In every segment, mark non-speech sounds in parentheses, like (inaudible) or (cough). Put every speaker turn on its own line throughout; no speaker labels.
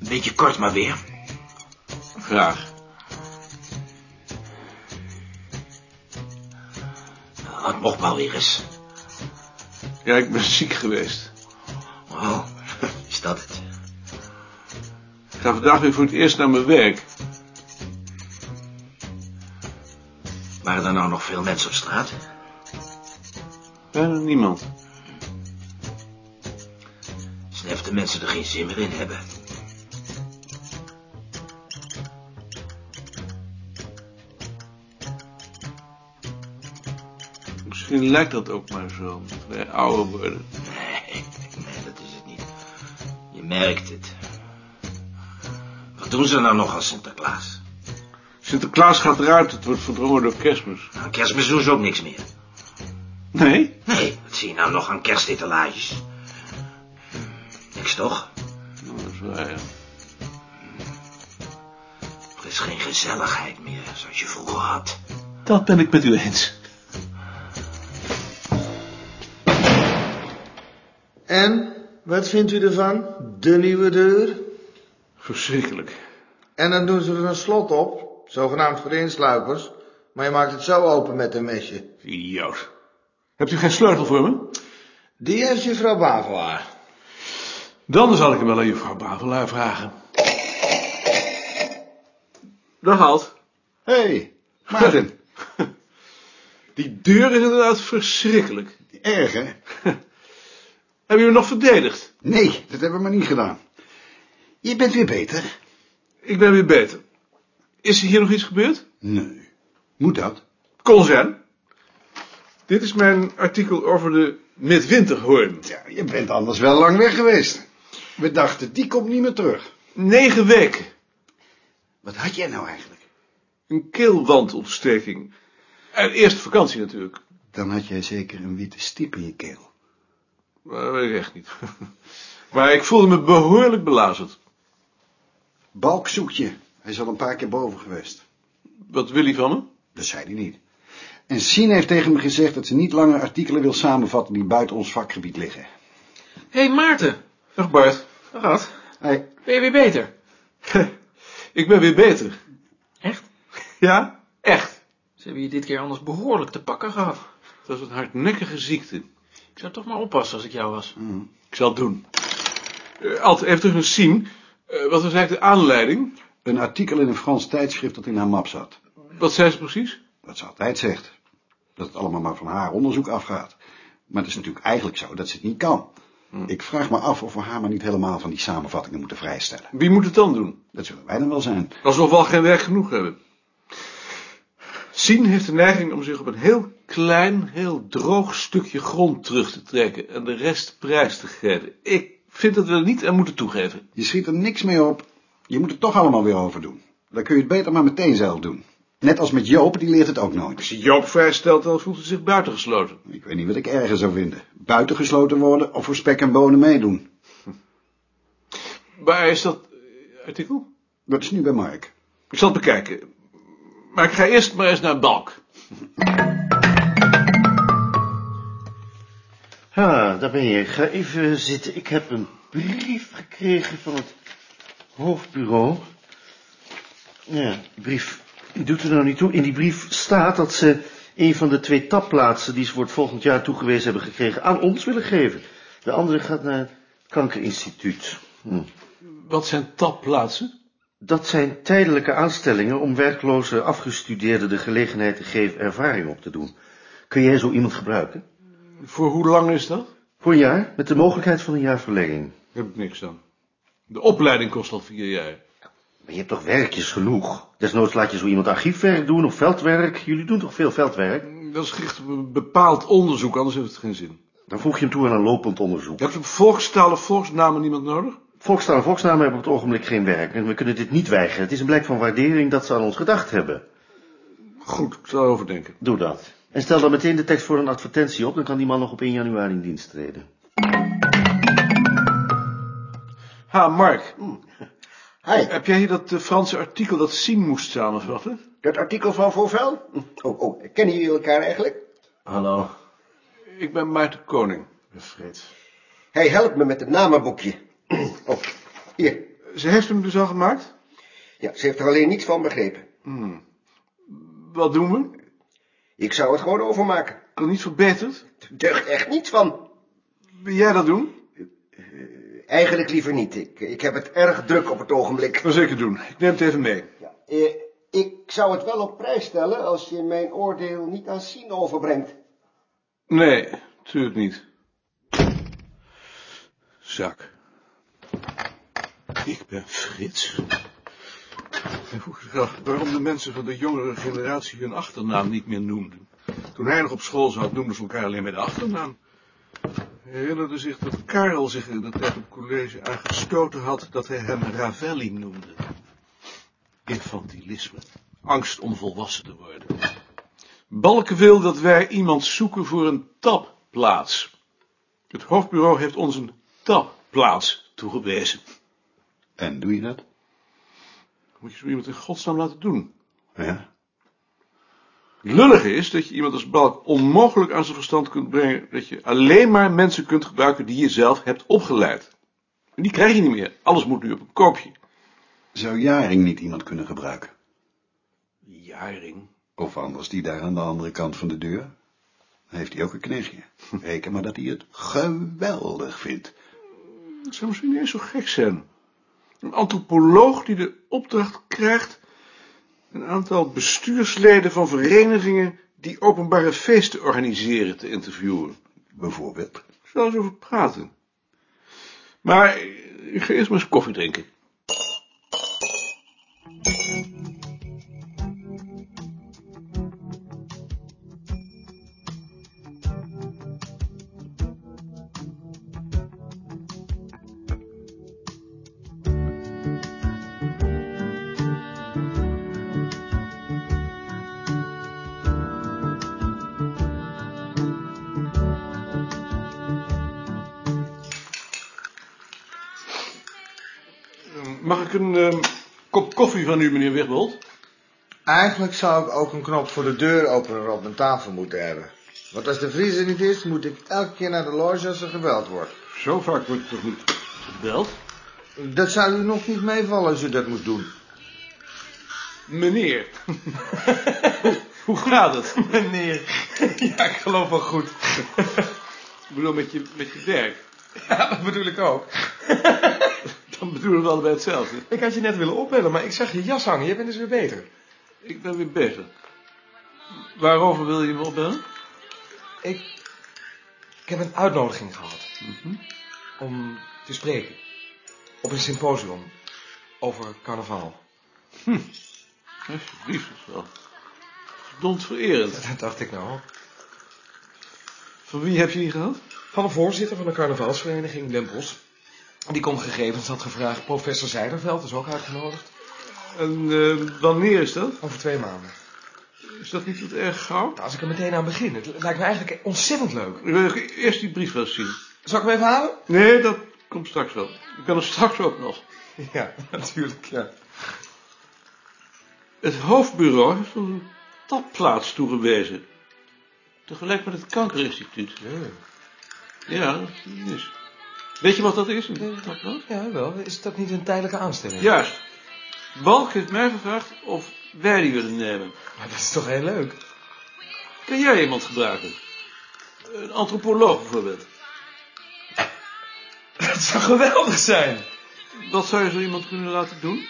Beetje kort maar weer.
Graag.
Wat mocht wel weer eens.
Ja, ik ben (laughs) ziek geweest.
Oh, (laughs) is dat het?
Ik ga vandaag weer voor het eerst naar mijn werk.
Waren er nou nog veel mensen op straat?
Bijna niemand.
Snef de mensen er geen zin meer in hebben.
Misschien lijkt dat ook maar zo, omdat wij ouder worden.
Nee, nee, dat is het niet. Je merkt het. Wat doen ze nou nog als Sinterklaas?
Sinterklaas gaat eruit, het wordt verdrongen door kerstmis.
Aan kerstmis doen ze ook niks meer.
Nee?
Nee, wat zie je nou nog aan kerstetalage? Niks toch?
Nou, dat is waar, ja.
Er is geen gezelligheid meer zoals je vroeger had.
Dat ben ik met u eens.
En, wat vindt u ervan? De nieuwe deur?
Verschrikkelijk.
En dan doen ze er een slot op, zogenaamd voor de insluipers. Maar je maakt het zo open met een mesje.
Idioot. Hebt u geen sleutel voor me?
Die heeft juffrouw Bavelaar.
Dan zal ik hem wel aan juffrouw Bavelaar vragen. Dag Halt.
Hé, hey, Maarten.
(laughs) Die deur is inderdaad verschrikkelijk.
Erg, hè?
Hebben jullie nog verdedigd?
Nee, dat hebben we maar niet gedaan. Je bent weer beter.
Ik ben weer beter. Is hier nog iets gebeurd?
Nee. Moet dat?
Kon zijn. Dit is mijn artikel over de midwinterhoorn.
Ja, je bent anders wel lang weg geweest. We dachten, die komt niet meer terug.
Negen weken.
Wat had jij nou eigenlijk?
Een keelwandontsteking. En eerst vakantie natuurlijk.
Dan had jij zeker een witte stip in je keel.
Maar weet ik echt niet. (laughs) Maar ik voelde me behoorlijk belazerd.
Balk zoekt je. Hij is al een paar keer boven geweest.
Wat wil hij van me?
Dat zei hij niet. En Sien heeft tegen me gezegd dat ze niet langer artikelen wil samenvatten die buiten ons vakgebied liggen.
Hé hey Maarten,
Dag Bart.
Rad,
Hij,
ben je weer beter?
(laughs) ik ben weer beter.
Echt?
Ja? Echt.
Ze hebben je dit keer anders behoorlijk te pakken gehad.
Het was een hardnekkige ziekte. Mm,
Ik zou toch maar oppassen als ik jou was.
Ik zal het doen. Eh Alt, even terug naar Sien. Eh, wat was eigenlijk de aanleiding?
een artikel in een Frans tijdschrift dat in haar map zat.
Wat zei ze precies?
Dat ze altijd zegt. Dat het allemaal maar van haar onderzoek afgaat. Maar het is natuurlijk eigenlijk zo dat ze het niet kan. Ik vraag me af of we haar maar niet helemaal van die samenvattingen moeten vrijstellen.
Wie moet het dan doen?
Dat zullen wij dan wel zijn.
Alsof we al geen werk genoeg hebben. Sien heeft de neiging om zich op een heel klein, heel droog stukje grond terug te trekken en de rest prijs te geven. Ik vind dat we er niet aan moeten toegeven.
Je schiet er niks mee op. Je moet het toch allemaal weer over doen. Dan kun je het beter maar meteen zelf doen. Net als met Joop, die leert het ook nooit.
Als je Joop vrijstelt, dan voelt hij zich buitengesloten.
Ik weet niet wat ik erger zou vinden. Buitengesloten worden of voor spek en bonen meedoen.
Waar is dat eh, artikel?
Dat is nu bij Mark.
Ik zal het bekijken. Maar ik ga eerst maar eens naar Balk.
Ha, Ah, daar ben je. Ik ga even zitten. Ik heb een brief gekregen van het hoofdbureau. Ja, die brief die doet er nou niet toe. In die brief staat dat ze een van de twee tapplaatsen die ze voor het volgend jaar toegewezen hebben gekregen aan ons willen geven. De andere gaat naar het kankerinstituut. Hm.
Wat zijn tapplaatsen?
Dat zijn tijdelijke aanstellingen om werkloze afgestudeerden de gelegenheid te geven ervaring op te doen. Kun jij zo iemand gebruiken?
Voor hoe lang is dat?
Voor een jaar, met de mogelijkheid van een jaar verlenging.
Heb ik niks aan. De opleiding kost al vier jaar.
Maar je hebt toch werkjes genoeg? Desnoods laat je zo iemand archiefwerk doen of veldwerk. Jullie doen toch veel veldwerk?
Dat is gericht op een bepaald onderzoek, anders heeft het geen zin.
Dan voeg je hem toe aan een lopend onderzoek.
Je hebt op volkstaal of volksnamen niemand nodig?
Volkstaal en volksnamen hebben op het ogenblik geen werk. En we kunnen dit niet weigeren. Het is een blijk van waardering dat ze aan ons gedacht hebben.
Goed, ik zal erover denken.
Doe dat. En stel dan meteen de tekst voor een advertentie op. Dan kan die man nog op 1 januari in dienst treden.
Ha, Mark.
Hmm.
Hij,
Heb jij hier dat eh, Franse artikel dat Sien moest samenvatten?
dat artikel van Voorvel?
Hm.
Oh, oh, kennen jullie elkaar eigenlijk?
Hallo.
Ik ben Maarten Koning.
Frits.
Hij helpt me met het namenboekje. Oh, hier.
Ze heeft hem dus al gemaakt? Hmm.
Ja, ze heeft er alleen niets van begrepen.
Wat doen we?
Ik zou het gewoon overmaken.
Nog niet verbeterd?
Er deugt echt niets van.
Wil jij dat doen?
Eigenlijk liever niet. Ik, ik heb het erg druk op het ogenblik.
Dat zeker doen. Ik neem het even mee.
Ja, eh, ik zou het wel op prijs stellen als je mijn oordeel niet aan Sien overbrengt.
Nee, tuurlijk niet. Zak. Ik ben Frits. Ik vroeg me af waarom de mensen van de jongere generatie hun achternaam niet meer noemden. Toen hij nog op school zat, noemden ze elkaar alleen met de achternaam. Hij herinnerde zich dat Karel zich in de tijd op college aangestoten had dat hij hem Ravelli noemde. Infantilisme. Angst om volwassen te worden. Balken wil dat wij iemand zoeken voor een tapplaats. Het hoofdbureau heeft ons een tapplaats toegewezen.
En doe je dat?
Moet je zo iemand in godsnaam laten doen?
Ja.
Lullig is dat je iemand als Balk onmogelijk aan zijn verstand kunt brengen dat je alleen maar mensen kunt gebruiken die je zelf hebt opgeleid. En die krijg je niet meer. Alles moet nu op een koopje.
Zou Jaring niet iemand kunnen gebruiken?
Jaring.
Of anders die daar aan de andere kant van de deur? Dan heeft hij ook een (laughs) knechtje. Reken maar dat hij het geweldig vindt.
Dat zou misschien niet eens zo gek zijn. Een antropoloog die de opdracht krijgt een aantal bestuursleden van verenigingen die openbare feesten organiseren te interviewen.
Bijvoorbeeld.
Ik zal eens over praten. Maar ik ga eerst maar eens koffie drinken. Mag ik een ehm, kop koffie van u, meneer Wigbold?
Eigenlijk zou ik ook een knop voor de deuropener op mijn tafel moeten hebben. Want als de vriezer niet is, moet ik elke keer naar de loge als er gebeld wordt.
Zo vaak wordt het toch niet gebeld?
Dat zou u nog niet meevallen als u dat moet doen. (laughs)
Meneer. hoe, hoe gaat het?
Meneer. Ja, ik geloof wel goed.
Ik bedoel, met je, met je werk.
Ja, dat bedoel ik ook.
Dan bedoelen we allebei hetzelfde.
Ik had je net willen opbellen, maar ik zag je jas hangen. Je bent dus weer beter.
Ik ben weer bezig. Waarover wil je me opbellen?
Ik, ik heb een uitnodiging gehad.
Mhm.
Om te spreken. Op een symposium. Over carnaval.
Alsjeblieft, dat is wel. Verdomd vererend.
Dat dacht ik nou.
Van wie heb je die gehad?
Van de voorzitter van de carnavalsvereniging, Den Bosch. Die komt gegevens had gevraagd. Professor Zijderveld is ook uitgenodigd.
En eh, wanneer is dat?
Over twee maanden.
Is dat niet wat erg gauw?
Nou, als ik er meteen aan begin. Het lijkt me eigenlijk ontzettend leuk.
Ik wil eerst die brief wel eens zien.
Zal ik hem even halen?
Nee, dat komt straks wel. Ik ben er straks ook nog.
Ja, (laughs) natuurlijk. Ja.
Het hoofdbureau heeft ons een tapplaats toegewezen. Tegelijk met het kankerinstituut. Ja, dat is niet mis. Weet je wat dat is, een tapplaats?
Ja, wel. Is dat niet een tijdelijke aanstelling?
Juist. Balk heeft mij gevraagd of wij die willen nemen.
Maar dat is toch heel leuk?
Kan jij iemand gebruiken? Een antropoloog bijvoorbeeld.
(laughs) Dat zou geweldig zijn.
Wat zou je zo iemand kunnen laten doen?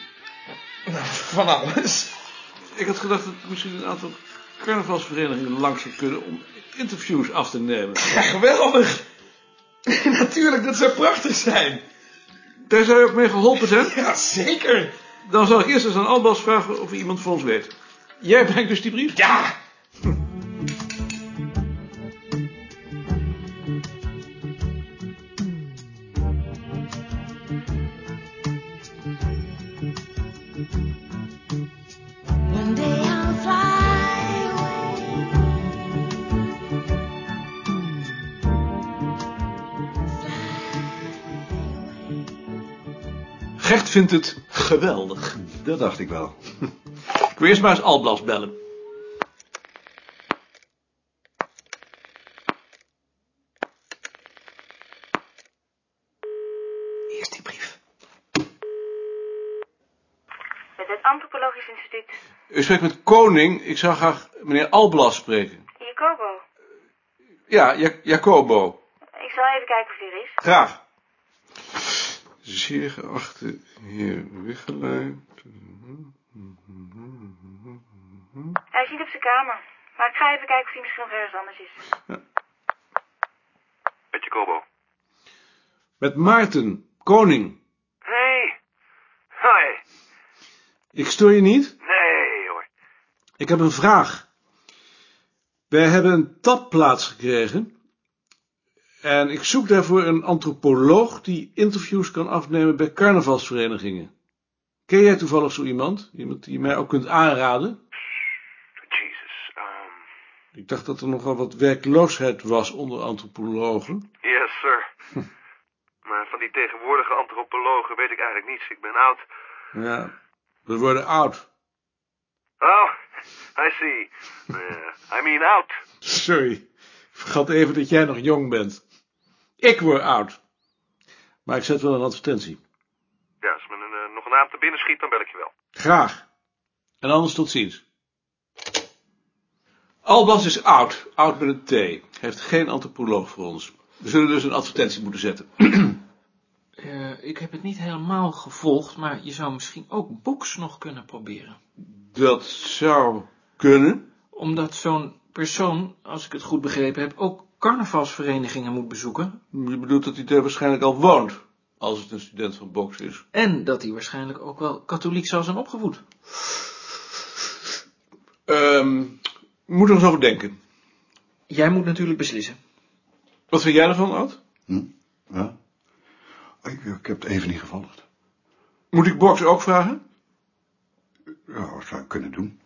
Nou, van alles.
Ik had gedacht dat misschien een aantal carnavalsverenigingen langs zou kunnen om interviews af te nemen.
Ja, geweldig. (laughs) natuurlijk, dat zou prachtig zijn.
Daar zou je ook mee geholpen zijn.
Ja, zeker.
Dan zal ik eerst eens aan Albas vragen of hij iemand van ons weet. Jij brengt dus die brief?
Ja.
One day I'll fly away.
Gert vindt het geweldig.
Dat dacht ik wel.
Ik wil eerst maar eens Alblas bellen.
Eerst die brief.
Antropologisch Instituut.
U spreekt met Koning. Ik zou graag meneer Alblas spreken.
Jacobo,
Ja, Ja- Jacobo.
ik zal even kijken of hij er is.
Graag. Zeer geachte heer Wichelaar.
Hij zit op zijn kamer. Maar ik ga even kijken of hij misschien nog ergens anders is.
Met Jacobo.
Met Maarten, Koning.
Nee. Hoi.
Ik stoor je niet?
Nee hoor.
Ik heb een vraag. Wij hebben een tapplaats gekregen. En ik zoek daarvoor een antropoloog die interviews kan afnemen bij carnavalsverenigingen. Ken jij toevallig zo iemand? Iemand die je mij ook kunt aanraden?
Jesus. Um,
Ik dacht dat er nogal wat werkloosheid was onder antropologen.
yes sir. maar van die tegenwoordige antropologen weet ik eigenlijk niets. Ik ben oud.
Ja, we worden oud.
Oh, I see. Eh, I mean out.
Sorry, ik vergat even dat jij nog jong bent. Ik word oud. Maar ik zet wel een advertentie.
Ja, als me een, eh, nog een naam te binnen schiet, dan bel ik je wel.
Graag. En anders tot ziens. Albas is oud, oud met een T. Hij heeft geen antropoloog voor ons. We zullen dus een advertentie moeten zetten.
Eh, ik heb het niet helemaal gevolgd, maar je zou misschien ook Boeks nog kunnen proberen.
Dat zou kunnen.
Omdat zo'n persoon, als ik het goed begrepen heb, ook carnavalsverenigingen moet bezoeken.
Je bedoelt dat hij daar waarschijnlijk al woont, als het een student van box is.
En dat hij waarschijnlijk ook wel katholiek zal zijn opgevoed.
Ehm, moet er eens over denken.
Jij moet natuurlijk beslissen.
Wat vind jij ervan, Ad?
Ja? Ik, ik heb het even niet gevolgd.
Moet ik Box ook vragen?
Ja, dat zou ik kunnen doen.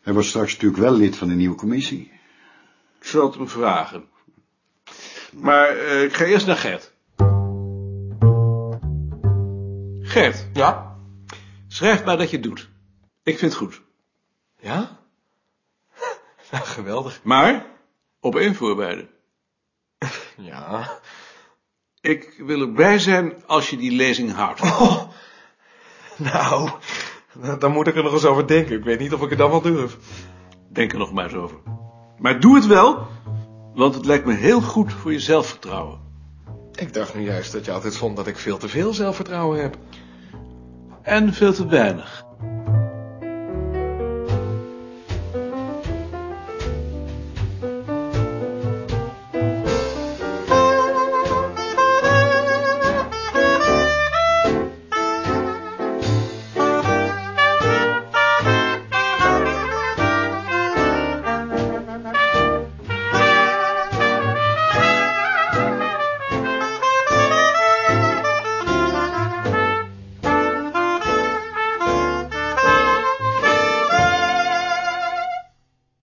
Hij wordt straks natuurlijk wel lid van de nieuwe commissie.
Ik zal het hem vragen. Maar eh, ik ga eerst naar Gert. Gert.
Ja?
Schrijf maar dat je het doet. Ik vind het goed.
Ja? (laughs) Nou, geweldig.
Maar, op één voorwaarde.
Ja.
Ik wil erbij zijn als je die lezing houdt.
(laughs) Oh. Nou, dan moet ik er nog eens over denken. Ik weet niet of ik het dan wel durf.
Denk er nog maar eens over. Maar doe het wel, want het lijkt me heel goed voor je zelfvertrouwen.
Ik dacht nu juist dat je altijd vond dat ik veel te veel zelfvertrouwen heb.
En veel te weinig.